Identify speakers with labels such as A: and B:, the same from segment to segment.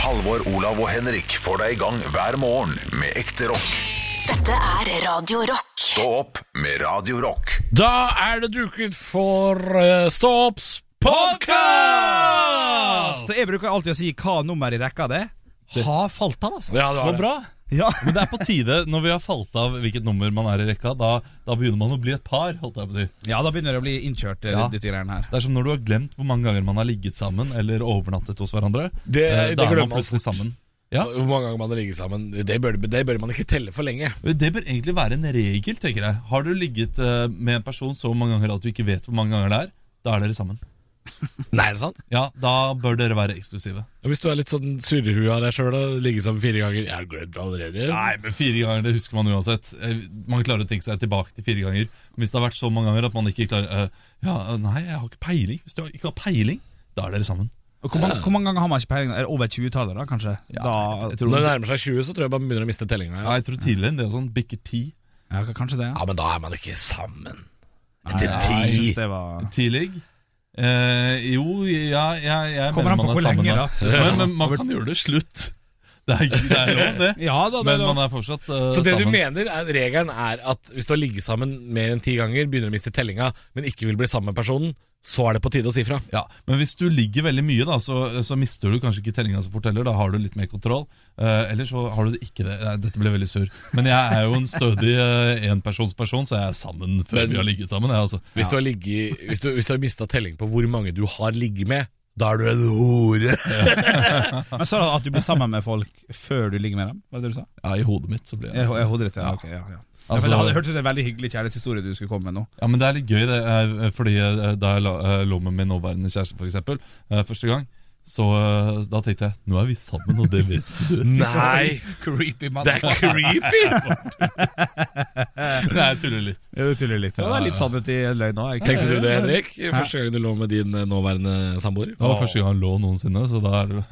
A: Halvor, Olav og Henrik får deg i gang hver morgen med ekte rock.
B: Dette er Radio Rock.
A: Stå opp med Radio Rock.
C: Da er det duket for uh,
D: eh,
C: Stå opps podkast!
E: Så jeg bruker alltid å si hva nummer i rekka det er. Har falt av, altså.
C: Ja, det var
F: Så
C: det.
F: bra!
E: Ja.
F: Men det er på tide, når vi har falt av hvilket nummer man er i rekka, da, da begynner man å bli et par. holdt jeg på å si.
E: ja, da begynner det å bli innkjørt, eh,
F: Ja.
E: dette greiene her.
F: Det er som når du har glemt hvor mange ganger man har ligget sammen eller overnattet hos hverandre.
D: Det-
F: Eh,
D: det
F: da er
D: glemmer
F: man
D: man
F: plutselig
D: fort.
F: sammen. Ja.
D: Hvor mange ganger man har ligget sammen, det bør, det bør man ikke telle for lenge.
F: Det bør egentlig være en regel, tenker jeg. Har du ligget eh, med en person så mange ganger at du ikke vet hvor mange ganger det er, da er dere sammen.
D: Nei, er det sant?
F: Ja, Da bør dere være eksklusive.
D: Hvis du er litt sånn surrehue av deg sjøl og ligger sammen fire ganger Jeg har glemt det allerede.
F: Nei, men fire ganger, det husker man uansett. Eh, Man klarer å tenke seg tilbake til fire ganger. Men hvis det har vært så mange ganger at man ikke klarer eh, Ja, nei, jeg har ikke peiling. Hvis du ikke har peiling, da er dere sammen.
E: Og hvor, mange, hvor mange ganger har man ikke peiling? Er det Over 20-tallet, da, kanskje? da,
F: Jeg tror
D: Når det nærmer seg 20, så tror jeg man begynner å miste tellinga.
F: Ja, jeg tror tidligere enn det og sånn bikker ti.
E: ja, k- kanskje det. Ja.
D: Ja, men da er man ikke sammen.
E: Nei, ja, jeg synes det var
F: Tidlig. Eh, jo, ja, jeg, jeg
E: Kommer an
F: mener
E: på
F: man
E: hvor
F: er sammen
E: lenge,
F: da.
E: da.
F: Men, men man kan gjøre det slutt. Det er, det er lov, det.
E: Ja da, det
F: Men
E: er
F: man
E: lov.
F: er fortsatt eh,
D: Så det du
F: sammen.
D: mener, er, regelen er at hvis du har ligget sammen mer enn ti ganger, begynner å miste tellinga, men ikke vil bli sammen med personen, så er det på tide å si fra.
F: Ja, Men hvis du ligger veldig mye, da, så, så mister du kanskje ikke tellinga så fort heller. Da har du litt mer kontroll. Eh, eller så har du det ikke det. Nei, dette ble veldig sur. Men jeg er jo en stødig eh, enpersonsperson, så jeg er sammen før vi har ligget sammen. Jeg, altså.
D: Hvis du har, ligget- hvis du, hvis du har mista telling på hvor mange du har ligget med, da er du en hore.
E: Men sa du at du blir sammen med folk før du ligger med dem? Var det det du sa?
F: Ja, I hodet mitt så blir jeg
E: Jeg, jeg hodet ditt, ja. ok, ja, ja. Ja, for
F: Altså-
E: det hadde hørtes ut som en veldig hyggelig kjærlighetshistorie du skulle komme med nå.
F: Ja, men det er litt gøy, det er, fordi eh, da jeg la, eh, lå med min nåværende kjæreste for eksempel, eh, første gang, så eh, da tenkte jeg, nå er vi sammen, og det vet du.
D: Nei,
E: Creepy mann.
D: det er creepy!
F: Nei, jeg tuller litt.
E: Ja, du tuller litt. Ja, det er litt sannhet i en løgn òg.
D: Tenkte du det, Henrik? Første gang du lå med din eh, nåværende samboer?
F: Det var første gang han lå noensinne, så da er det...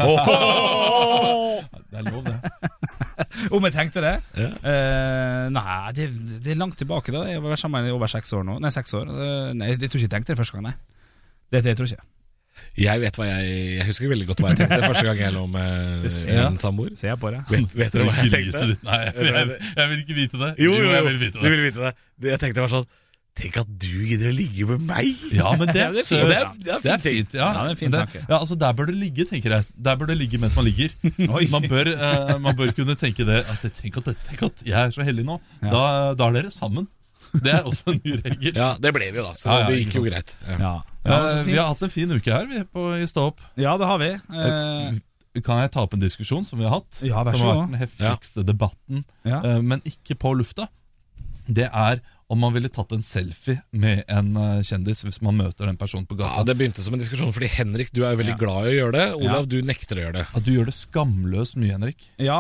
F: Det er lov det.
E: Om jeg tenkte det?
D: Ja.
E: Eh, nei, det, det er langt tilbake. da Jeg har vært sammen i over seks år nå. Nei, seks år. Eh, nei, jeg tror ikke jeg tenkte det første gang, nei. Det, det tror jeg ikke.
D: Jeg vet hva jeg Jeg husker veldig godt hva jeg tenkte første gang jeg lå med
E: Det ser jeg.
D: en samboer.
E: Ser jeg på det.
D: Vet, vet dere hva jeg
F: Gliset
D: tenkte?
F: ditt. Nei, jeg, jeg, jeg vil ikke vite det.
D: Jo, jo, jo.
F: jeg vil
D: Du
F: vite det.
D: vil vite det. Det Jeg tenkte var sånn Tenk at du gidder å ligge med meg!
F: Ja, men det er
D: Det er
F: søt.
D: fint, det er- det er
F: Det er
D: fint,
F: fint, ja.
E: Ja, det er en fin
F: Men
E: tanke.
F: ja, altså Der bør du ligge, tenker jeg. Der bør du ligge mens man ligger. Man bør, eh, man bør kunne tenke det. At, tenk, at, tenk at jeg er så heldig nå. Da, da er dere sammen. Det er også en ny regel.
D: Ja, det ble vi jo, da. Så
F: Ja, ja,
D: det
F: ikke
D: gikk jo greit. Ja.
E: Ja,
F: Ja,
E: men så
F: vi
E: fint.
F: har hatt en fin uke her vi på, i Stå opp.
E: ja det har vi. Eh,
F: Kan jeg ta opp en diskusjon som vi har hatt?
E: Ja, vær så
F: som har
E: god.
F: vært den heftigste debatten,
E: Ja.
F: eh, men ikke på lufta. Det er om man ville tatt en selfie med en eh, kjendis hvis man møter den personen på
D: Ja,
F: gata.
D: Det begynte som en diskusjon, fordi Henrik, du er jo veldig glad i å gjøre det. Olav, du nekter å gjøre det.
F: At du gjør det skamløst mye, Henrik.
E: ja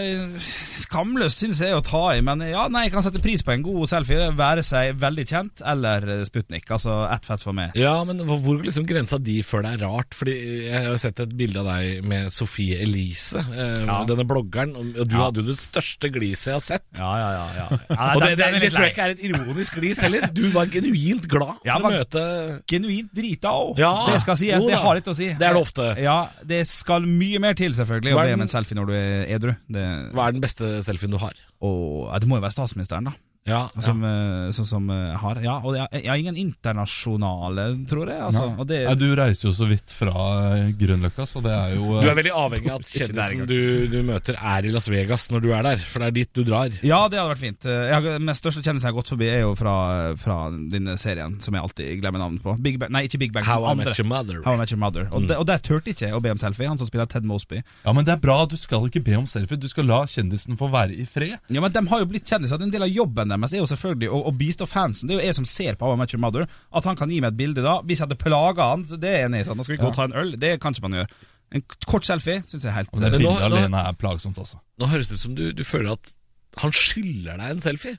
E: eh, Skamløst syns jeg å ta i, men ja, nei, jeg kan sette pris på en god selfie. Være seg veldig kjent eller Sputnik. Altså ett fett for meg.
D: Ja, men hvor hvor går liksom grensa di før det er rart? Fordi jeg har jo sett et bilde av deg med Sofie Elise, eh,
E: Ja.
D: denne bloggeren, og og du hadde jo det største gliset jeg har sett.
E: Ja, ja, ja. ja. ja
D: Og det,
E: den-
D: det,
E: den er
D: det
E: litt
D: tror
E: lei.
D: jeg ikke er et ironisk glis heller. Du var genuint glad
E: Ja,
D: for å
E: men-
D: møte
E: Genuint drita òg.
D: Ja,
E: det skal sies.
D: jo
E: Det
D: da.
E: har litt å si.
D: Det er det ofte.
E: Ja, det skal mye mer til, selvfølgelig, å
D: Hva er
E: be om
D: den-
E: en selfie når du er edru. Det,
D: Hva er den beste selfien du har?
E: og, ja, det må jo være statsministeren, da.
D: Ja,
E: Som, eh, Sånn som eh, har Ja, og jeg, jeg har ingen internasjonale, tror jeg. Altså, og det,
F: Nei, du reiser jo så vidt fra eh, Grünerløkka, så det er jo eh,
D: Du er veldig avhengig av at
E: Ikke der
D: kjendisen
E: engang.
D: du, du møter er i Las Vegas når du er der, for det er dit du drar.
E: ja, det hadde vært fint. Eh, Jeg, har- den største kjendisen jeg har gått forbi, er jo fra, fra denne serien som jeg alltid glemmer navnet på. Big Bang, nei, ikke Big Bang.
D: How I
E: den andre.
D: Met Your Mother. Mm.
E: How I Met Your Mother. Og, de, og der turte ikke å be om selfie, han som spiller Ted Mosby.
F: Ja, men det er bra. Du skal ikke be om selfie. Du skal la kjendisen få være i fred.
E: Ja, men De har jo blitt kjendiser. En del av jobben deres er jo selvfølgelig å, å bistå fansen. Det er jo jeg som ser på How I Met Your Mother. At han kan gi meg et bilde da. Hvis jeg hadde plaga han, det er jeg enig i. sånn, Nå skal vi ikke gå og ta en øl. Det kan ikke man gjøre. En k- kort selfie syns jeg er helt eh,
F: Og det
D: Men nå-
F: bildet
D: nå-
F: alene er plagsomt, altså.
D: Nå høres det ut som du, du føler at han skylder deg en selfie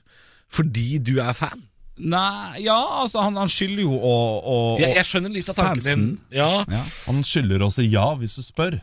D: fordi du er fan.
E: Nei, ja, altså, han, han skylder jo å, å, å
D: Jeg, jeg skjønner litt av tanken din.
E: fansen.
D: Ja,
E: Ja.
F: Han skylder også ja hvis du spør.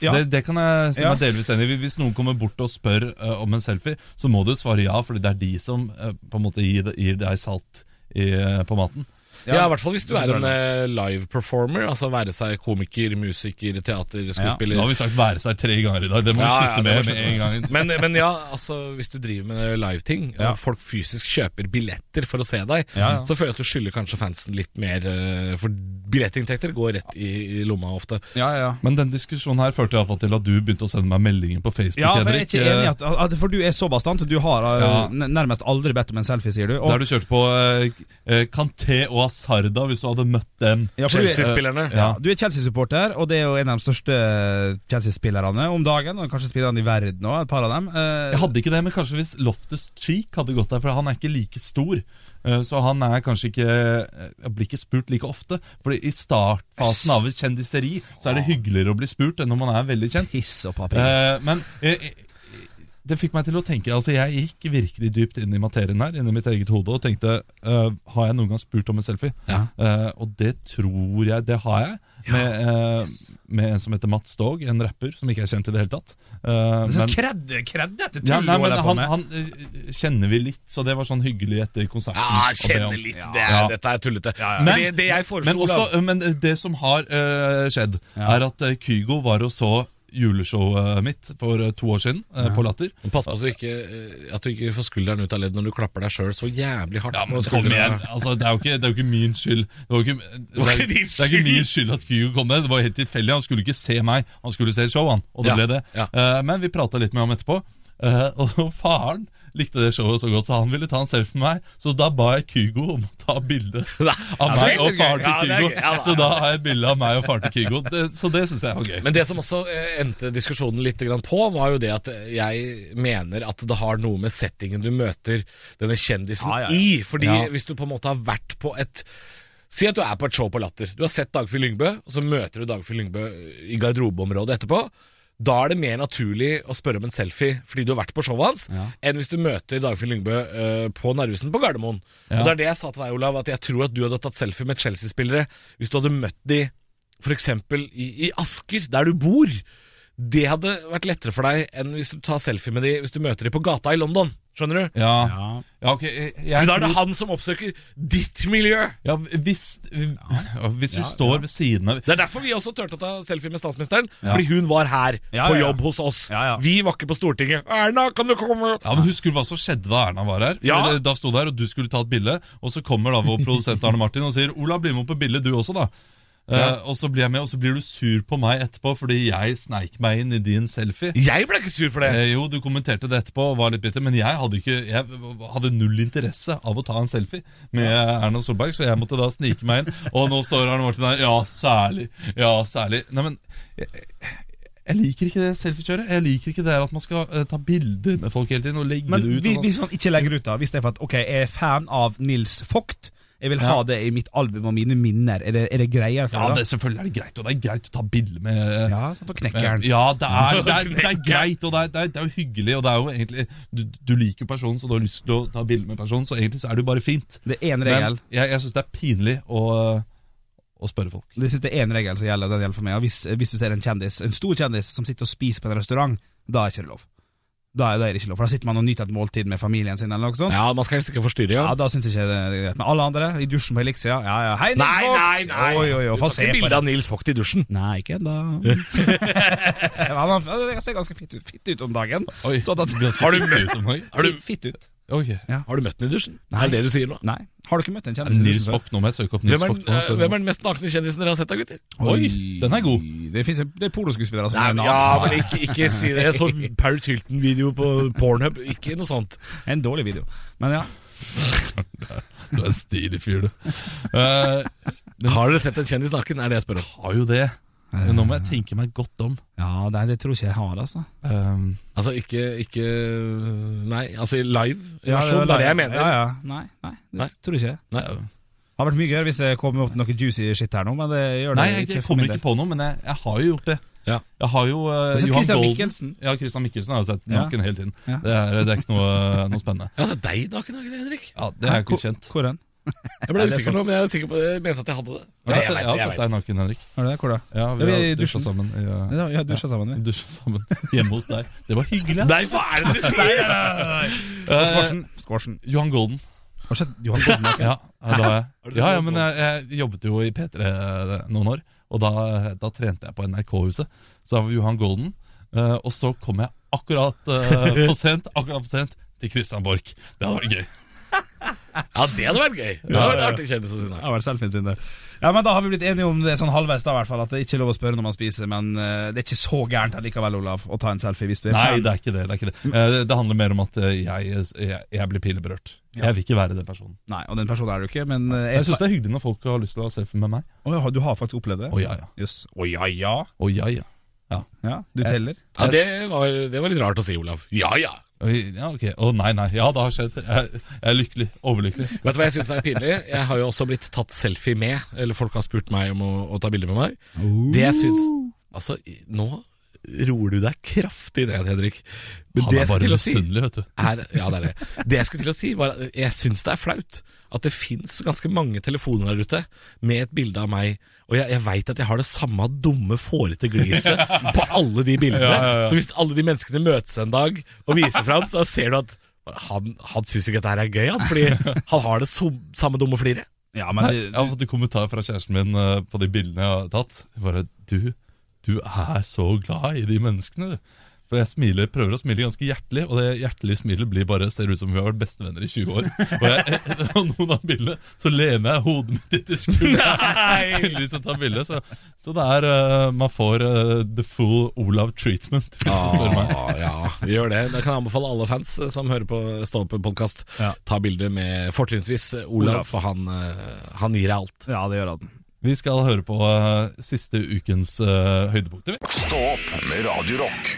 E: Ja.
F: Det, det kan jeg si
E: Ja.
F: meg delvis enig i. Hvis noen kommer bort og spør eh, om en selfie, så må du svare ja, fordi det er de som eh, på en måte gir, gir deg salt i, eh, på maten.
D: Ja, i hvert fall hvis du
E: Hvis
D: er
E: du
D: en
E: drar
D: eh, live performer. Altså være seg komiker, musiker, teater,
F: Nå har
D: skuespiller.
F: vi sagt være seg tre ganger i dag. Det må vi
D: Ja, ja,
F: slutte
D: det må
F: med
D: vi
F: med en gang.
D: Men, men ja, altså hvis du driver med live-ting, og
E: Ja.
D: folk fysisk kjøper billetter for å se deg,
E: Ja, ja.
D: så føler jeg at du skylder kanskje fansen litt mer, eh, for billettinntekter går rett i, i lomma ofte.
E: Ja, ja, ja.
F: Men den diskusjonen her førte i hvert fall til at du begynte å sende meg meldinger på Facebook.
E: Ja, for jeg er
F: Henrik, eh.
E: ikke enig i at, at For du er så bastant. Du har eh,
F: Ja.
E: n- nærmest aldri bedt om en selfie, sier du.
F: eh, Der du kjørte på eh, eh, Kanté og Hazarda, hvis du hadde møtt dem.
E: ja, for du er,
D: Chelsea-spillerne.
F: Ja.
E: du er Chelsea-supporter, og det er jo en av de største Chelsea-spillerne om dagen. Og kanskje spillerne i verden òg, et par av dem. Eh,
F: Jeg hadde ikke det, men kanskje hvis Loftus Cheek hadde gått der, for han er ikke like stor. eh, Så han er kanskje ikke eh, blir ikke spurt like ofte. For i startfasen av et kjendiseri så er det hyggeligere å bli spurt enn når man er veldig kjent.
E: Piss og papir.
F: Eh, Men eh, eh, det fikk meg til å tenke Altså Jeg gikk virkelig dypt inn i materien her, inni mitt eget hode, og tenkte eh, Har jeg noen gang spurt om en selfie?
E: Ja.
F: Eh, og det tror jeg det har jeg. Med, eh, med en som heter Mats Dog, en rapper som ikke er kjent i det hele tatt. Eh,
E: Det er
F: men-
E: sånn kredd, kreddete tull
F: ja, nei,
E: du
F: men
E: holder på
F: han,
E: med.
F: han eh, kjenner vi litt, så det var sånn hyggelig etter konserten.
D: Ja,
F: å be om.
D: kjenner litt. Det er,
F: Ja.
D: Dette er tullete.
F: ja.
D: Fordi det jeg foreslo
F: Men, også, eh, men det som har eh, skjedd,
E: Ja.
F: er at eh, Kygo var og så juleshowet mitt for eh, to år siden, eh, på Latter.
D: Men Pass på så du ikke, eh, at du ikke får skulderen ut av ledd når du klapper deg sjøl så jævlig hardt.
F: Ja, men
D: på
F: kom
D: skulderen.
F: igjen! Altså, det, er jo ikke, det er jo ikke min skyld. Det, var jo ikke, det,
D: var
F: er,
D: ikke din
F: det er ikke min skyld at Kygo kom ned. Det var helt tilfeldig. Han skulle ikke se meg, han skulle se showet, han. Og det
D: Ja,
F: ble det.
D: ja.
F: Eh, men vi prata litt med ham etterpå, eh, og faren likte det showet så godt, så han ville ta en selfie med meg. Så da ba jeg Kygo om å ta bilde
D: Nei. Ja,
F: av
D: det
F: meg
D: er
F: og
D: gøy.
F: faren
D: Ja, det
F: til
D: er
F: Kygo.
D: gøy. Ja, da.
F: Så da har jeg bilde av meg og faren til Kygo. Det, så det syns jeg var gøy.
D: Men det som også eh, endte diskusjonen litt grann på, var jo det at jeg mener at det har noe med settingen du møter denne kjendisen
E: Ja, ja, ja.
D: i. Fordi
F: Ja.
D: hvis du på en måte har vært på et Si at du er på et show på Latter. Du har sett Dagfjell Lyngbø, og så møter du Dagfjell Lyngbø i garderobeområdet etterpå. Da er det mer naturlig å spørre om en selfie fordi du har vært på showet hans, enn hvis du møter Dagfjell Lyngbø eh, på Narvesen på Gardermoen. Og Det er det jeg sa til deg, Olav, at jeg tror at du hadde tatt selfie med Chelsea-spillere hvis du hadde møtt de for eksempel i, i Asker, der du bor, det hadde vært lettere for deg enn hvis du tar selfie med de hvis du møter de på gata i London. Skjønner du?
F: Ja,
E: Ja.
F: ja ok. Jeg,
D: For
F: jeg
D: da er det
F: tror-
D: han som oppsøker ditt miljø!
F: ja, hvis, hvis vi står ved siden av
D: Det er derfor vi også turte å ta selfie med statsministeren. Fordi hun var her,
E: Ja,
D: på
E: ja, ja.
D: jobb hos oss.
E: Ja, ja.
D: Vi var ikke på Stortinget. Erna, kan du komme?
F: Ja, men Husker du hva som skjedde da Erna var her?
D: Ja.
F: Eller eh, Da sto der, og du skulle ta et bilde, og så kommer da vår produsent Arne Martin og sier 'Ola, bli med på bildet, du også', da. Eh, og så blir jeg med, og så blir du sur på meg etterpå fordi jeg sneik meg inn i din selfie.
D: Jeg ble ikke sur for det.
F: Eh, jo, du kommenterte det etterpå og var litt bitter, men jeg hadde, ikke, jeg hadde null interesse av å ta en selfie med Erna Solberg, så jeg måtte da snike meg inn. Og nå står Arne Martin her. Ja, særlig. Ja, særlig. Nei, men jeg, jeg liker ikke det selfiekjøret. Jeg liker ikke det her at man skal eh, ta bilder med folk hele tiden og legge
E: Men
F: det ut. og
E: vi-
F: sånn.
E: hvis man ikke legger ut da Hvis det er for at Ok, jeg er fan av Nils Vogt Jeg vil ha det i mitt album og mine minner Er det, er det greier for
F: Ja,
E: deg da?
F: det, selvfølgelig er det greit, og det er greit å ta bilde med
E: Ja, sånn at du knekker den
F: Ja, det er, det, er, det er greit, og det er, det, er, det er jo hyggelig, og det er jo egentlig Du, du liker jo personen, så du har lyst til å ta bilde med personen, så egentlig så er det jo bare fint.
E: Det er en regel
F: Men jeg, jeg syns det er pinlig å, å spørre folk.
E: Det synes det er en regel som gjelder Den gjelder for meg Og hvis, hvis du ser en kjendis En stor kjendis som sitter og spiser på en restaurant Da er ikke det lov Da er, da er det ikke lov For da sitter man og nyter et måltid med familien sin Eller noe sånt
D: Ja, man skal helst ikke forstyrre, ja.
E: Ja, da synes jeg ikke det er greit Men alle andre I dusjen på Elixia Ja, ja Hei, Nils
D: Nei,
E: Vogt!
D: nei, nei!
E: Oi, oi, oi
D: Du
E: Få
D: tar
E: se
D: ikke
E: på
D: bilde
E: det
D: av Nils Vogt i dusjen.
E: Nei, ikke enda Han har- han altså, ser ganske fitt ut, fitt ut om dagen
F: Oi,
E: Sånn at
F: har du møtt som høy?
D: Har du,
E: Fitt ut.
F: Ok.
D: har du møtt ham i dusjen?
E: Nei.
D: Er det det du sier nå?
E: Nei. Har du ikke møtt en
F: Er
E: kjendis?
F: det Nils Vogt, nå må jeg søke opp Nils
D: Hvem er,
F: Vogt.
D: den,
F: nå,
D: eh,
F: så-
D: hvem er den mest nakne kjendisen dere har sett da, gutter?
F: Oi, den er god.
E: Det, finnes, en- det er pornoskuespillere som
D: Nei,
E: er
D: men-
E: nakne.
D: ja, men ikke, ikke si det. Jeg så Paris Hilton-video på Pornhub. Ikke noe sånt.
E: En dårlig video. Men ja.
F: Du er en stilig fyr, du. Eh,
D: Har dere sett en kjendis naken? Er det jeg spør om.
F: har jo det. Nå må jeg tenke meg godt om.
E: ja nei, det tror ikke jeg har, altså.
F: Um,
D: Altså ikke, ikke Nei, altså i live
E: Ja,
D: versjon. Det er det jeg mener.
E: Ja, ja. Nei, nei, det
D: Nei.
E: tror ikke jeg.
D: Nei.
E: Det hadde vært mye gøyere hvis jeg kom opp med noe juicy shit her nå, men det gjør det
F: Nei, jeg, jeg
E: for min
F: kommer ikke
E: del.
F: på noe, men jeg, jeg har jo gjort det.
D: Ja.
F: Jeg har jo eh,
E: har sett
F: Johan
E: Christian
F: Golden.
E: Michelsen.
F: Ja, Christian Mikkelsen har jeg sett
E: Ja.
F: naken hele tiden.
E: Ja.
F: Det, er, det er ikke noe, noe spennende.
D: Ja, altså deg naken, Agne Henrik.
F: Ja, Det er
E: Nei,
F: jo ikke kjent.
E: Hvor, hvor den?
D: Jeg ble usikker nå, men jeg er sikker på jeg mente at jeg hadde det.
F: Jeg har, sett- jeg har sett deg naken, Henrik.
E: Har du det? Hvor da?
F: Ja,
E: Ja,
F: Vi
E: vi er i
F: har dusja
E: dusjen.
F: sammen. eh, Ja.
E: Nei, da- Vi har dusja sammen, vi.
F: Dusja sammen hjemme hos deg. Det var hyggelig. ass.
D: Nei, hva er det dere sier?!
F: Eh,
E: Squashen. Squashen.
F: Johan Golden.
E: Har du sett Johan Goldenåker?
F: Ja, ja, da, ja, ja men jeg, jeg jobbet jo i P3 noen år, og da, da trente jeg på NRK-huset. Så da var Johan Golden, eh, og så kom jeg akkurat eh, for sent, akkurat for sent til Christian Borch. Det hadde vært gøy.
D: Ja, det hadde vært gøy. Det hadde vært artig kjendis å si nei.
E: Det har vært selfien sin, det. Ja, men da har vi blitt enige om det sånn halvveis, da, i hvert fall. At det ikke er lov å spørre når man spiser, men eh, det er ikke så gærent allikevel, Olav, å ta en selfie hvis du er
F: Nei,
E: fan.
F: det er ikke det. Det, er ikke det. Eh, det- det handler mer om at eh, jeg, jeg, jeg blir pinlig Jeg vil ikke være den personen.
E: Nei, og den personen er du ikke, men eh,
F: Jeg syns det er hyggelig når folk har lyst til å ha selfie med meg.
E: Å, ja, Du har faktisk opplevd det?
F: Å ja, ja.
E: Jøss. Å ja, ja.
F: Å ja, ja.
E: Ja, Du teller?
D: Ja, det var, det var litt rart å si, Olav. Ja, ja.
F: Oi, ja ok. Å nei, nei. Ja, det har skjedd. Jeg, jeg er lykkelig. Overlykkelig.
D: Vet du hva jeg syns er pinlig? Jeg har jo også blitt tatt selfie med. Eller folk har spurt meg om å, å ta bilde med meg. Det jeg syns Altså, i- nå roer du deg kraftig ned, Henrik. Men
F: Han
D: det jeg
F: er
D: skulle
F: bare
D: til å si
F: misunnelig, vet du.
D: er, Ja, det er det. Det jeg skulle til å si, var at jeg syns det er flaut at det fins ganske mange telefoner der ute med et bilde av meg. Og jeg, jeg veit at jeg har det samme dumme, fårete gliset på alle de bildene. Så hvis alle de menneskene møtes en dag og viser fram, så ser du at han, han syns ikke dette her er gøy, han, fordi han har det som, samme dumme fliret.
E: Ja, men det,
F: Jeg har fått en kommentar fra kjæresten min eh, på de bildene jeg har tatt. Jeg Bare, du, du er så glad i de menneskene, du. For jeg smiler, prøver å smile ganske hjertelig, og det hjertelige smilet blir bare, ser ut som vi har vært bestevenner i 20 år. Og jeg, og noen av bildene, så lener jeg hodet mitt litt i skulderen. Lyst til å ta bilde, så, så det er eh, Man får eh, the full Olav treatment, hvis du spør meg.
D: Ah, ja, vi gjør det. Da kan jeg anbefale alle fans eh, som hører på Stå opp-podkast, ta bilde med fortrinnsvis eh, Olav,
E: Olav.
D: for han, eh, han gir deg alt.
E: ja, det gjør han.
F: Vi skal høre på eh, siste ukens eh, høydepunkter. vi.
A: Stå opp med Radio Rock.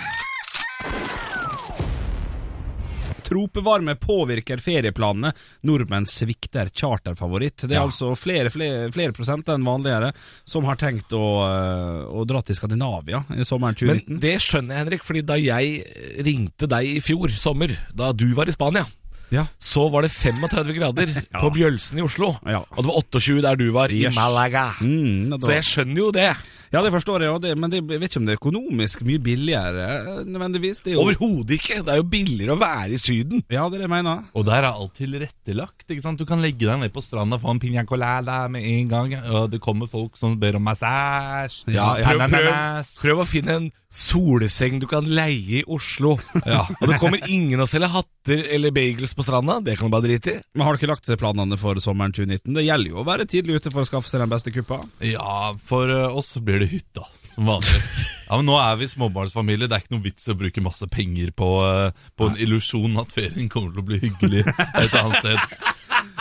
E: Tropevarme påvirker ferieplanene. Nordmenn svikter charterfavoritt. Det er altså flere, flere, flere prosent enn vanligere som har tenkt å, eh, å dra til Skandinavia i sommeren 2019.
D: Men det skjønner jeg, Henrik, fordi da jeg eh, ringte deg i fjor sommer, da du var i Spania,
E: Ja.
D: så var det 35 grader på Bjølsen i Oslo.
E: Ja.
D: Og det var 28 der du var, i
E: Yes.
D: Malaga.
E: Mm,
D: Så jeg skjønner jo det.
E: Ja, det forstår jeg, og det, men det, jeg vet ikke om det er økonomisk mye billigere eh, nødvendigvis. Det er jo,
D: Overhodet ikke. Det er jo billigere å være i Syden.
E: Ja, det er det jeg mener.
F: Og der er alt tilrettelagt. ikke sant? Du kan legge deg ned på stranda og få en piña colada med en gang. Og det kommer folk som ber om massasje.
D: Ja, prøv, prøv,
F: ananas.
D: prøv å finne en solseng du kan leie i Oslo.
F: Ja.
D: Og det kommer ingen å selge hatter eller bagels på stranda. Det kan du bare drite i.
E: Men har du ikke lagt planene for sommeren 2019? Det gjelder jo å være tidlig ute for å skaffe seg den beste kuppa.
F: ja, for eh, oss så blir det hytta, som vanlig. Ja, men Nå er vi småbarnsfamilie. Det er ikke noe vits å bruke masse penger på, eh, på en illusjon at ferien kommer til å bli hyggelig et annet sted.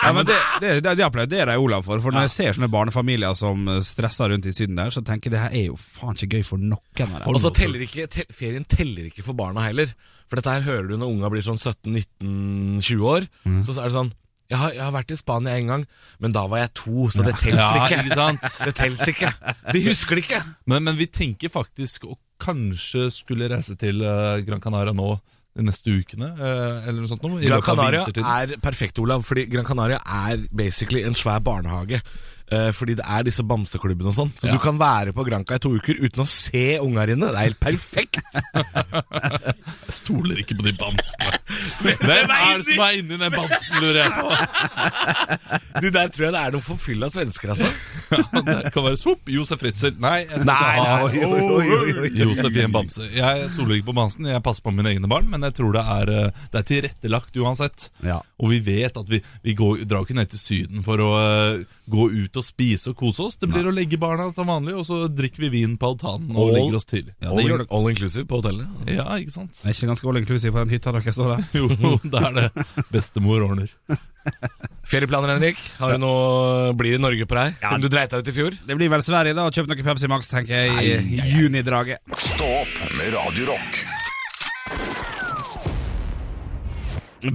E: Ja, men Det, det, det, det applauderer jeg Olav for, for når jeg ser sånne barnefamilier som eh, stresser rundt i Syden der, så tenker jeg det her er jo faen ikke gøy for noen av
D: Og
E: dem.
D: så teller ikke te, ferien teller ikke for barna heller. For dette her hører du når unga blir sånn 17-19-20 år.
F: Mm.
D: Så er det sånn jeg har, jeg har vært i Spania en gang, men da var jeg to, så det tels
F: Ja,
D: ikke.
F: ikke sant?
D: Det tels ikke. De husker det ikke.
F: Men, men vi tenker faktisk å kanskje skulle reise til eh, Gran Canaria nå de neste ukene, eh, eller noe sånt. Nå, i
D: Gran
F: løpet av
D: Canaria
F: vintertiden.
D: er perfekt, Olav, fordi Gran Canaria er basically en svær barnehage. Eh, fordi det er disse bamseklubbene og sånn. Så du kan være på Granca i to uker uten å se unga dine. Det er helt perfekt!
F: Jeg stoler ikke på de bamsene. Hvem er det som er inni den bamsen, lurer jeg på?
D: Du, Der tror jeg det er noen forfylla svensker, altså.
F: Ja, det kan være svopp. Josef Ritzel. Nei, jeg skal
D: Nei,
F: ikke ha Josef i en bamse. Jeg stoler ikke på bamsen, jeg passer på mine egne barn, men jeg tror det er, eh, det er tilrettelagt uansett.
E: Ja.
F: Og vi vet at vi, vi går, drar ikke ned til Syden for å eh, gå ut og spise og kose oss. Det blir å legge barna som vanlig, og så drikker vi vin på altanen og
D: Og-
F: legger oss tidlig.
E: Ja, det gjør det.
D: all inclusive på hotellet.
F: Ja, ikke sant?
E: Det er ikke ganske all inclusive på den hytta dere står der.
F: Jo, det er det. Bestemor ordner.
D: Ferieplaner, Henrik? Har du noe blir i Norge på deg? Som du dreit deg ut i fjor?
E: Det blir vel Sverige, da, og kjøpe noe Pepsi Max, tenker jeg, i junidraget.
A: Stå opp med Radio Rock.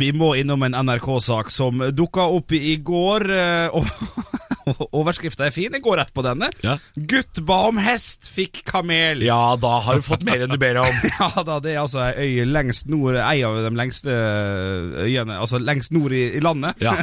E: Vi må innom en NRK-sak som dukka opp i går. eh, Og Overskrifta er fin. Jeg går rett på denne.
F: Ja.
E: Gutt ba om hest, fikk kamel.
D: Ja, da har du fått mer enn du ber om.
E: Ja da, det er altså ei øy lengst nord Ei av de lengste øyene Altså lengst nord i, i landet.
D: Ja.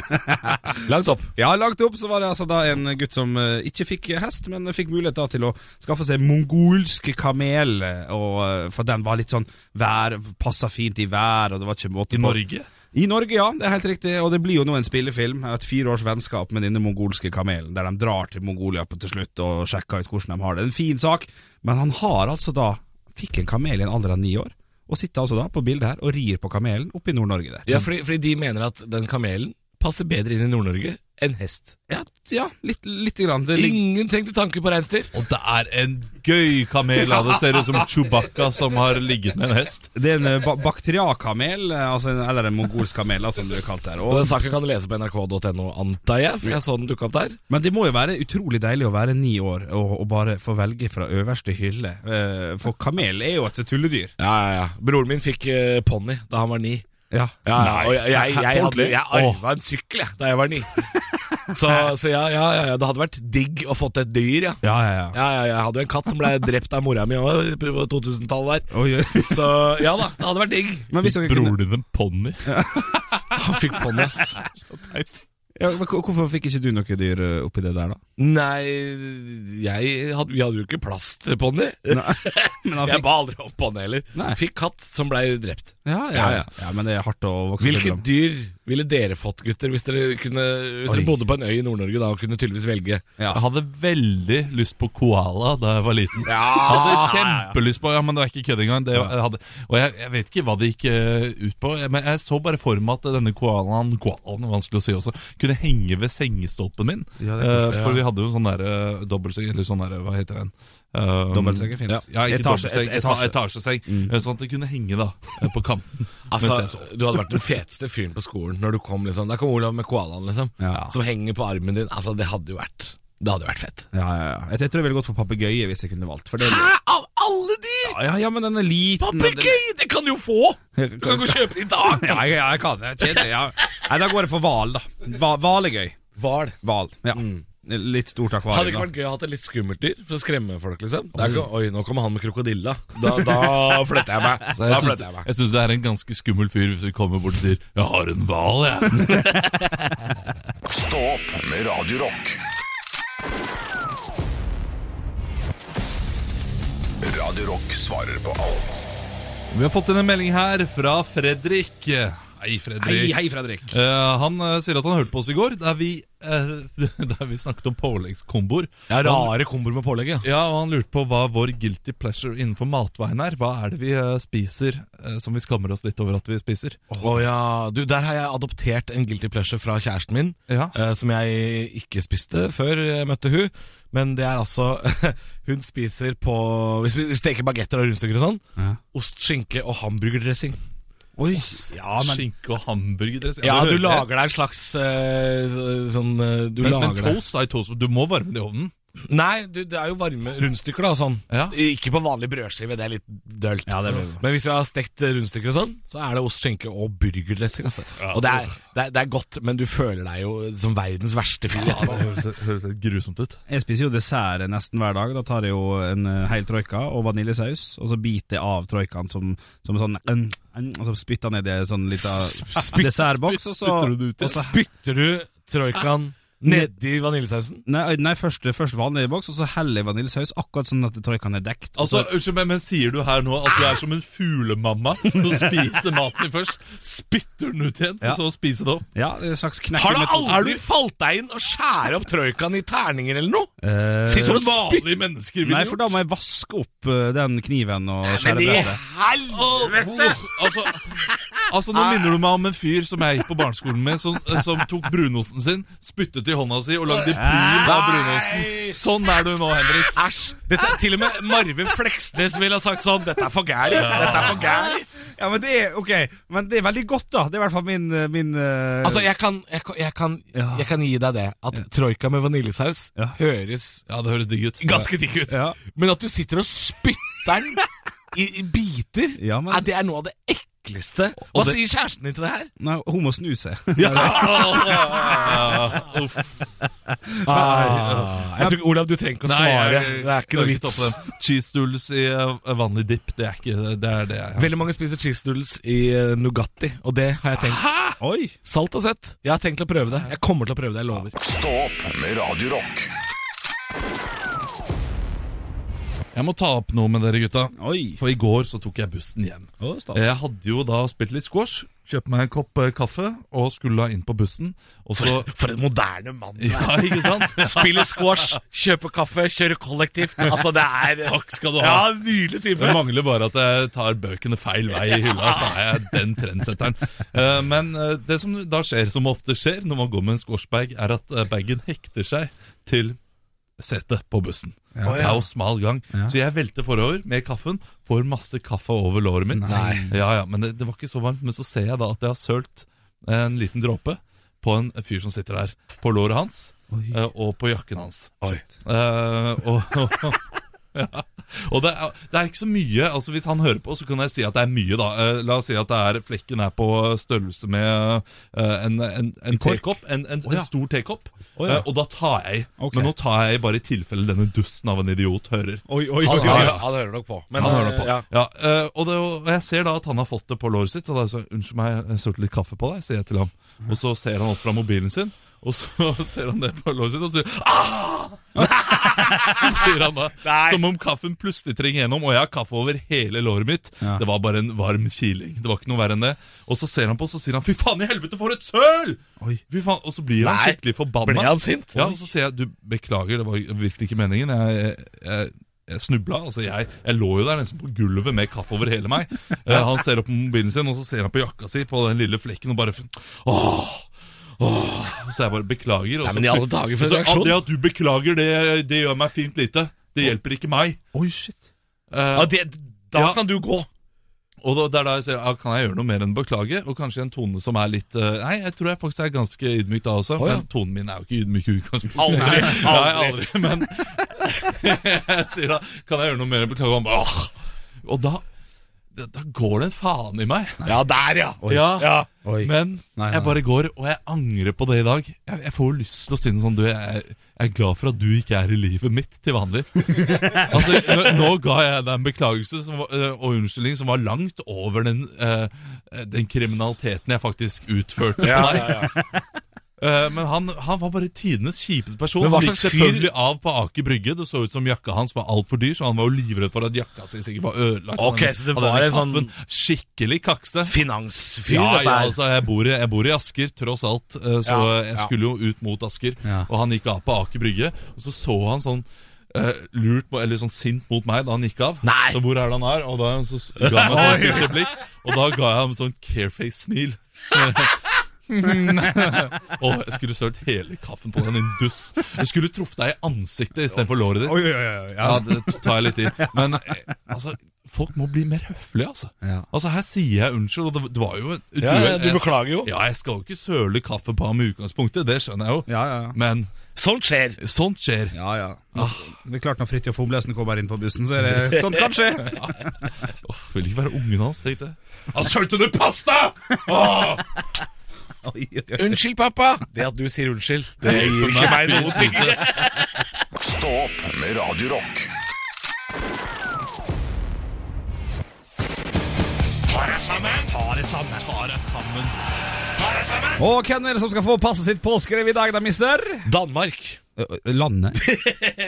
D: Langt opp.
E: Ja, langt opp så var det altså da en gutt som eh, ikke fikk hest, men fikk mulighet da til å skaffe seg mongolsk kamel. eh, Og, eh, for den var litt sånn vær Passa fint i vær, og det var ikke måte
F: I Norge?
E: I Norge, ja. Det er helt riktig. Og det blir jo nå en spillefilm. Et fire års vennskap med denne mongolske kamelen, der de drar til Mongolia på til slutt og sjekker ut hvordan de har det. En fin sak. Men han har altså da Fikk en kamel i en alder av ni år. Og sitter altså da på bildet her og rir på kamelen oppe i Nord-Norge der.
D: Ja, fordi, fordi de mener at den kamelen passer bedre inn i Nord-Norge enn hest.
E: Ja, ja litt, lite grann. Det ligger
D: Ingen tenkte tanke på reinsdyr.
F: Og det er en gøy kamel. da. Det ser ut som Chewbacca som har ligget med en hest.
E: Det er en eh, ba bakteriakamel, eh, altså en, eller en mongolsk kamel, da, som det er kalt der.
D: Og
E: Og,
D: den saken kan du lese på nrk.no, antar jeg, for jeg så den dukke opp der.
E: men det må jo være utrolig deilig å være ni år og, og bare få velge fra øverste hylle. Eh, For kamel er jo et tulledyr.
D: Ja, ja, ja. Broren min fikk uh, ponni da han var ni.
E: Ja,
D: Ja, ja, og jeg, jeg, jeg, hadde,
E: Ordentlig?
D: jeg arva en sykkel jeg, da jeg var ni. Så, så ja, ja, ja, ja, det hadde vært digg å fått et dyr, ja.
E: Ja, ja, ja.
D: Ja, ja, jeg hadde jo en katt som ble drept av mora mi òg på 2000-tallet der.
E: Oi, oi.
D: Så ja da, det hadde vært digg.
E: Men hvis dere kunne,
F: Broren din en ponni?
D: Han fikk ponni, ass.
E: ja, men hvor- hvorfor fikk ikke du noe dyr eh, oppi det der, da?
D: Nei, jeg hadde, vi hadde jo ikke plass til ponni.
E: Men han
D: Jeg
E: fikk,
D: ba aldri om ponni heller.
E: Nei.
D: Fikk katt som ble drept.
E: ja, ja, ja. ja, men det er hardt å vokse opp
D: Hvilket
E: imellom.
D: dyr ville dere fått, gutter, hvis dere, kunne, hvis
E: Oi.
D: dere bodde på en øy i Nord-Norge da og kunne tydeligvis velge?
E: Ja.
F: Jeg hadde veldig lyst på koala da jeg var liten. Jeg hadde kjempelyst på Ah, Ja, men det var ikke kødd engang. Det, jeg hadde, og jeg, jeg vet ikke hva det gikk eh, ut på, jeg- men jeg så bare for meg at denne koalaen Koalaen er vanskelig å si også kunne henge ved sengestolpen min.
E: Ja, det er
F: Eh, for vi hadde jo sånn derre uh, dobbeltseng, eller sånn derre Hva heter den? Um,
E: Dobbeltseng er fint.
F: Ja, ja, ikke
E: Etasje-
F: dobbeltseng,
E: et-
F: eta-
E: etasje.
F: etasjeseng. eh, Sånn at det kunne henge da eh, på kanten.
D: Altså,
F: mens jeg sov.
D: du hadde vært den feteste fyren på skolen når du kom, liksom. Der kom Olav med koalaen, liksom.
E: Ja.
D: Som henger på armen din. Altså, det hadde jo vært Det hadde jo vært fett.
E: Ja, ja, ja. Jeg- Jeg tror jeg ville gått for papegøye hvis jeg kunne valgt. For det,
D: Av alle dyr!
E: ja, ja, men den er liten. og den-
D: Papegøye! Det kan du jo få!
E: Du
D: Du kan gå og kjøpe det i dag!
E: Ja, jeg, jeg kan jeg kjenner, ja. Nei, da går jeg for hval, da. Hva- Hval er gøy.
D: Hval. Mm.
E: Hval. Ja. Litt stort
D: Hadde det ikke
E: akvarium.
D: vært gøy å ha et litt skummelt dyr for å skremme folk? liksom Det er ikke, Oi, nå kommer han med krokodilla. Da, da flytter jeg meg.
F: Så jeg
D: Da
F: syns-
D: flytter jeg meg
F: jeg syns det er en ganske skummel fyr hvis vi kommer bort og sier 'jeg har en hval', jeg.
A: Stå opp med Radio Rock. Radio Rock svarer på alt.
F: Vi har fått inn en melding her fra Fredrik. Hei,
E: da.
F: Fredrik.
E: Hei, hei, Fredrik.
F: Eh, han eh, sier at han hørte på oss i går, der vi, eh, der vi snakket om påleggskomboer.
D: Det er rare komboer med pålegg, ja.
F: Ja, og Han lurte på hva vår guilty pleasure innenfor matveien er. Hva er det vi eh, spiser eh, som vi skammer oss litt over at vi spiser?
D: Å ja. Du, der har jeg adoptert en guilty pleasure fra kjæresten min.
F: Ja.
D: eh, som jeg ikke spiste før jeg møtte hun Men det er altså Hun spiser på Hvis vi steker bagetter og rundstykker og sånn,
E: Ja.
D: ost, skinke og hamburgerdressing.
E: Oi.
F: Ja, men... Skinke og hamburgerdress.
D: Ja, du
F: det hører jeg.
D: lager deg en slags eh, så- sånn eh, Du
F: men, men
D: lager deg
F: toast er toast. Du må varme det i ovnen.
D: Nei, du, det er jo varme rundstykker da og sånn.
F: Ja.
D: Ikke på vanlig brødskive, det er litt dølt.
E: Ja, det blir bra.
D: Men hvis vi har stekt eh, rundstykker og sånn, så er det ost, skinke og burgerdressing. Altså. Og det er, det, er, det er godt, men du føler deg jo som verdens verste fyr. etterpå.
F: høres, høres helt grusomt ut.
E: Jeg spiser jo dessert nesten hver dag. Da tar jeg jo en eh, hel troika og vaniljesaus, og så biter jeg av troikaen som, som sånn en, en, Og så spytter jeg ned i en sånn lita dessertboks, og så,
F: spytter du det ut, ja.
E: og så
D: Spytter du troikaen nedi vaniljesausen?
E: Nei, nei først, først vaniljesaus, og så heller jeg vaniljesaus, akkurat sånn at troikaen er dekt.
F: Altså, unnskyld, men, men sier du her nå at du er som en fuglemamma som spiser maten din først, spytter den ut igjen,
E: Ja.
F: og så spiser det opp?
E: Ja, en slags knekk
D: Har du
E: metode.
D: aldri falt deg inn og skjære opp troikaen i terninger eller noe?
E: Eh,
D: Sitter
F: Som
D: og spytter
F: vanlige mennesker vil
E: Nei, for da må jeg vaske opp eh, den kniven og skjære
D: Men i
E: brødet.
D: helvete!
F: altså, altså, nå minner du meg om en fyr som jeg gikk på barneskolen med, som, som tok brunosten sin, spyttet i hånda si og lagde pil av brunosten. Sånn er du nå, Henrik.
D: Æsj! Dette er til og med Marve Fleksnes ville ha sagt sånn. Dette er for gærent. Dette er for gærent.
E: Ja, men det er ok, men det er veldig godt, da. Det er i hvert fall min, eh, min eh,
D: Altså, jeg kan, jeg, kan- jeg, kan,
E: Ja.
D: jeg kan gi deg det. At troika med vaniljesaus
E: Ja.
D: høres
F: Ja, det høres digg ut.
D: ganske digg ut.
E: Ja.
D: Men at du sitter og spytter den i, i biter,
E: Ja, men-
D: eh, det er noe av det ekleste. Hva
F: Og det-
D: sier kjæresten din til det her?
E: Nei, hun må snu seg.
F: Uff.
D: Ah. Jeg tror, Olav, du trenger ikke å
F: Nei,
D: svare.
F: jeg,
D: det er ikke noe
F: klarer å
D: vits.
F: toppe det. Cheese doodles i eh, vanlig dip, det er ikke det er det jeg har.
D: Veldig mange spiser cheese doodles i eh, Nugatti, og det har jeg tenkt.
E: Oi!
D: Salt og søtt. Jeg har tenkt å prøve det. Jeg kommer til å prøve det, jeg lover.
A: Stå opp med Radio Rock.
F: Jeg må ta opp noe med dere, gutta.
E: Oi.
F: For i går så tok jeg bussen hjem.
E: Å, stas.
F: Jeg hadde jo da spilt litt squash, kjøpt meg en kopp eh, kaffe og skulle inn på bussen. Og så
D: For en moderne mann. du er.
F: Ja, ikke sant?
D: Spiller squash, kjøper kaffe, kjører kollektivt. Altså, det er
F: Takk skal du ha.
D: Ja, Nydelig
F: Det
D: time.
F: mangler bare at jeg tar bøkene feil vei i hylla, så er jeg den trendsetteren. Eh, Men eh, det som da skjer, som ofte skjer når man går med en squashbag, er at eh, bagen hekter seg til setet på bussen. Det er jo smal gang, så jeg velter forover med kaffen. Får masse kaffe over låret mitt.
E: Nei.
F: Ja, ja, men det, det var ikke så varmt. Men så ser jeg da at jeg har sølt en liten dråpe på en fyr som sitter der. På låret hans
E: Oi.
F: eh, og på jakken hans.
D: Oi.
F: Eh, og og, ja. og det, er, det er ikke så mye. Altså Hvis han hører på, så kan jeg si at det er mye. da Eh, La oss si at det er, flekken er på størrelse med eh, en, en, en tekopp. En, en, en stor tekopp.
E: ja.
F: Eh, og da tar jeg i.
E: Ok.
F: Men nå tar jeg i bare i tilfelle denne dusten av en idiot hører.
E: Oi, oi,
D: Han,
E: oi.
F: ja,
D: hører-
F: ja.
D: han hører nok på. Men,
F: Han hører det på.
D: ja.
F: Ja, eh, og, det, og jeg ser da at han har fått det på låret sitt. Så da er jeg så, unnskyld meg, jeg sølte litt kaffe på deg, sier jeg til ham. Og så ser han opp fra mobilen sin, og så ser han det på låret sitt, og så sier ah! sier han da.
D: Nei.
F: Som om kaffen plutselig trenger gjennom, og jeg har kaffe over hele låret mitt.
E: Ja.
F: Det var bare en varm kiling. Det var ikke noe verre enn det. Og så ser han på, så sier han fy faen i helvete, for et søl!
E: Oi.
F: Fy faen, Og så blir han
D: Nei.
F: skikkelig
D: Ble
F: forbanna.
D: han sint?
F: Ja, og så sier jeg du beklager, det var virkelig ikke meningen. Jeg, jeg, jeg, jeg snubla. Altså, jeg, jeg lå jo der nesten på gulvet med kaffe over hele meg. Eh, han ser opp på mobilen sin, og så ser han på jakka si på den lille flekken og bare f- Åh! Åh, så jeg bare beklager. Og
D: Nei,
F: så-
D: men i alle dager, for en
F: Så, «Ah,
D: reaksjon.
F: Det at du beklager, det, det gjør meg fint lite. Det hjelper ikke meg.
E: Oi, shit.
F: Eh,
D: Ja, det, da
F: Ja.
D: kan du gå.
F: og da, det er da jeg sier ja, kan jeg gjøre noe mer enn beklage? Og kanskje en tone som er litt eh, Nei, jeg tror jeg faktisk er ganske ydmyk da også.
D: Å, ja.
F: Men tonen min er jo ikke ydmyk i utgangspunktet.
D: Aldri,
F: Nei, aldri. Men jeg sier da kan jeg gjøre noe mer enn beklage? Og han bare åh. Og da, da- da går det en faen i meg.
D: Ja, der, ja.
F: Ja.
D: ja.
E: Oi.
F: Men
E: Nei, nei,
F: jeg bare går, og jeg angrer på det i dag. Jeg, jeg får jo lyst til å si noe sånn Du, jeg, jeg er glad for at du ikke er i livet mitt til vanlig. altså, nå, nå ga jeg deg en beklagelse som, var- øh, og unnskyldning som var langt over den, øh, den kriminaliteten jeg faktisk utførte.
D: Ja, ja, ja.
F: Eh, men han, han var bare tidenes kjipeste person.
D: Men hva
F: Han gikk
D: slags fyr-
F: selvfølgelig av på Aker Brygge. Det så ut som jakka hans var altfor dyr, så han var jo livredd for at jakka si sikkert var ødelagt.
D: Ok,
F: Han-
D: så det
F: av
D: var
F: denne
D: en sånn-
F: kaffen. Skikkelig kakse
D: Finansfyr,
F: ja,
D: dette
F: ja,
D: her.
F: altså, jeg bor, i, jeg bor i Asker, tross alt. eh, Så
D: Ja,
F: jeg
D: ja.
F: skulle jo ut mot Asker.
E: Ja.
F: Og han gikk av på Aker Brygge, og så så han sånn eh, lurt på, eller sånn sint mot meg da han gikk av.
D: Nei.
F: Så hvor er det han er? Og da så s- ga han meg et sånt lite blikk, og da ga jeg ham sånn careface-smil. og jeg skulle sølt hele kaffen på den, din duss. Jeg skulle truffet deg i ansiktet istedenfor låret ditt.
E: Oi, oi, oi, oi.
F: Ja,
E: Ja.
F: det tar jeg litt i. Men eh, altså, folk må bli mer høflige, altså.
E: Ja.
F: Altså, Her sier jeg unnskyld, og det, det var jo et
D: Ja,
F: uhell.
D: ja, du
F: Jeg-
D: beklager jo.
F: Ja, jeg skal jo ikke søle kaffe på ham i utgangspunktet, det skjønner jeg jo.
E: Ja, ja, ja.
F: Men
D: Sånt skjer.
F: sånt skjer.
E: Ja, ja. Nå, det er klart når Fridtjof Omlesen kommer inn på bussen, så er det sånt kan skje.
F: Åh, vil ikke være ungen hans, tenkte jeg. Han sølte du pasta! Åh!
E: Oi, oi, oi.
D: Unnskyld, pappa. Det at du sier unnskyld, det gir
F: Hjelper
D: ikke
F: meg
D: meg noe.
F: fint lite.
A: Stå opp med Radio Rock.
F: Tar jeg sammen.
E: Og hvem er det som skal få passet sitt påskrevet i dag, da, mister?
D: Danmark.
E: Landet.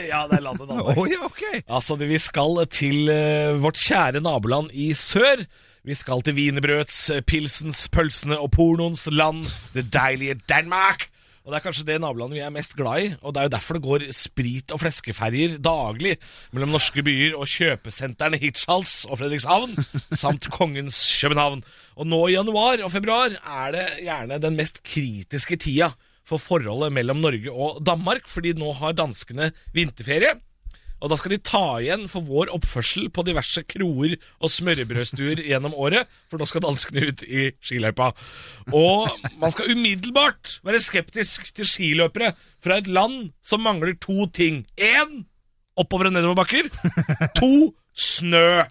D: Ja, det er landet
E: Å ja, ok.
D: Altså, det- vi skal til eh, vårt kjære naboland i sør. Vi skal til wienerbrøds, eh, pilsens, pølsene og pornoens land, det deilige Danmark. Og Det er kanskje det nabolandet vi er mest glad i. og Det er jo derfor det går sprit- og fleskeferjer daglig mellom norske byer og kjøpesentrene Hirtshals og Fredrikshavn, samt Kongens København. Og nå i januar og februar er det gjerne den mest kritiske tida for forholdet mellom Norge og Danmark, fordi nå har danskene vinterferie. Og da skal de ta igjen for vår oppførsel på diverse kroer og smørbrødstuer gjennom året, for nå skal danskene ut i skiløypa. Og man skal umiddelbart være skeptisk til skiløpere fra et land som mangler to ting. Én oppover- og nedoverbakker. To snø.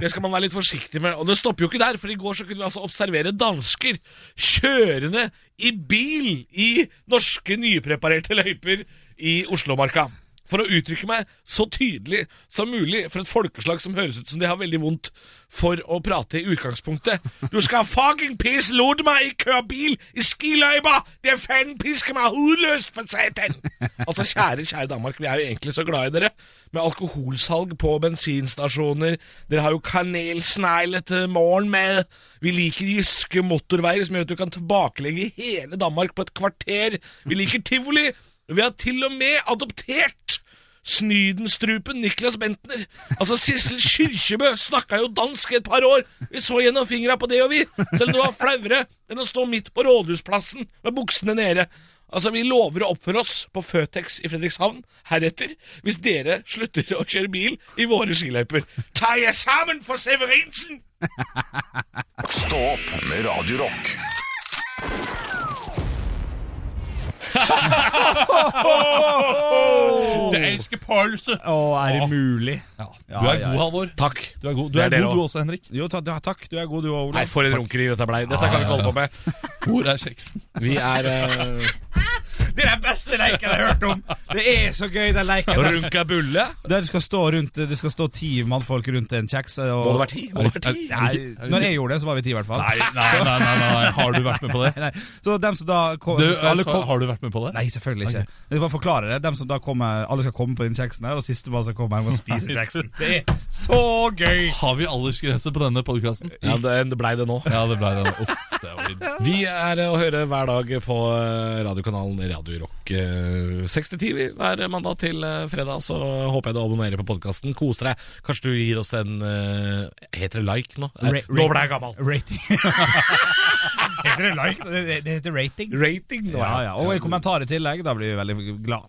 D: Det skal man være litt forsiktig med. Og det stopper jo ikke der, for i går så kunne vi altså observere dansker kjørende i bil i norske nypreparerte løyper i Oslomarka. For å uttrykke meg så tydelig som mulig for et folkeslag som høres ut som de har veldig vondt for å prate i utgangspunktet. Du skal fucking piss lort meg ikke køre bil i skiløypa! Det fanden pisker meg hudløst, for satan! Altså, kjære, kjære Danmark, vi er jo egentlig så glad i dere, med alkoholsalg på bensinstasjoner. Dere har jo kanelsnegler til morgen med Vi liker jyske motorveier som gjør at du kan tilbakelegge hele Danmark på et kvarter. Vi liker tivoli. Vi har til og med adoptert Snydenstrupen Niklas Bentner. Altså Sissel Kyrkjebø snakka jo dansk i et par år. Vi så gjennom fingra på det og vi, selv om det var flauere enn å stå midt på Rådhusplassen med buksene nede. Altså, Vi lover å oppføre oss på Føtex i Fredrikshavn heretter hvis dere slutter å kjøre bil i våre skiløyper. Ta jer sammen for Severinsen!
A: Stå opp med Radio Rock.
F: Det elsker pølse!
E: Å, er det mulig?
F: Ja,
E: Ja,
F: du er
E: ja,
F: god,
E: ja.
F: Halvor.
D: Takk.
F: Du er god, du,
D: Det er
F: er
D: dere
F: god, du
D: også.
F: også, Henrik.
E: Jo, ta, ja, takk. Du er god, du òg,
D: Nei,
E: Olav.
D: for en runkeri dette blei. Dette kan vi ikke holde på med.
F: Hvor er kjeksen?
D: Vi er eh,
E: Det er den beste leken jeg har hørt om! Det er så gøy, den leken. Der,
D: Runka bulle?
E: der det, skal stå rundt, det skal stå ti mannfolk rundt en kjeks. Og,
D: Må det være ti? Må det være ti?
E: Nei, når jeg gjorde det, så var vi ti, i hvert fall.
F: Nei, nei, nei, nei, nei, har du vært med på det?
E: Nei, Så dem som da kom,
F: Du,
E: så skal alle
F: altså,
E: kom,
F: har du vært med på det?
E: Nei, selvfølgelig ikke. Jeg skal bare forklare det. Dem som da kommer, alle skal komme på den kjeksen her, og sistemann som kommer hjem og spiser kjeksen. Det er så gøy!
F: Har vi aldersgrense på denne podkasten?
D: Ja, det blei det nå.
F: Ja, det ble det. Uff, det var litt-
D: Vi er eh, å høre hver dag på eh, radiokanalen Radio Rock eh, 6 til 10 vi, hver mandag til eh, fredag. Så håper jeg du abonnerer på podkasten. Koser deg. Kanskje du gir oss en eh, Heter det like nå? Eh,
E: Ra-
D: nå
E: ra-
D: ble jeg gammel!
E: Rating. heter det like? Det, det- det heter rating.
D: Rating nå,
E: Ja, ja. Og en kommentar i tillegg. Da blir vi veldig glad.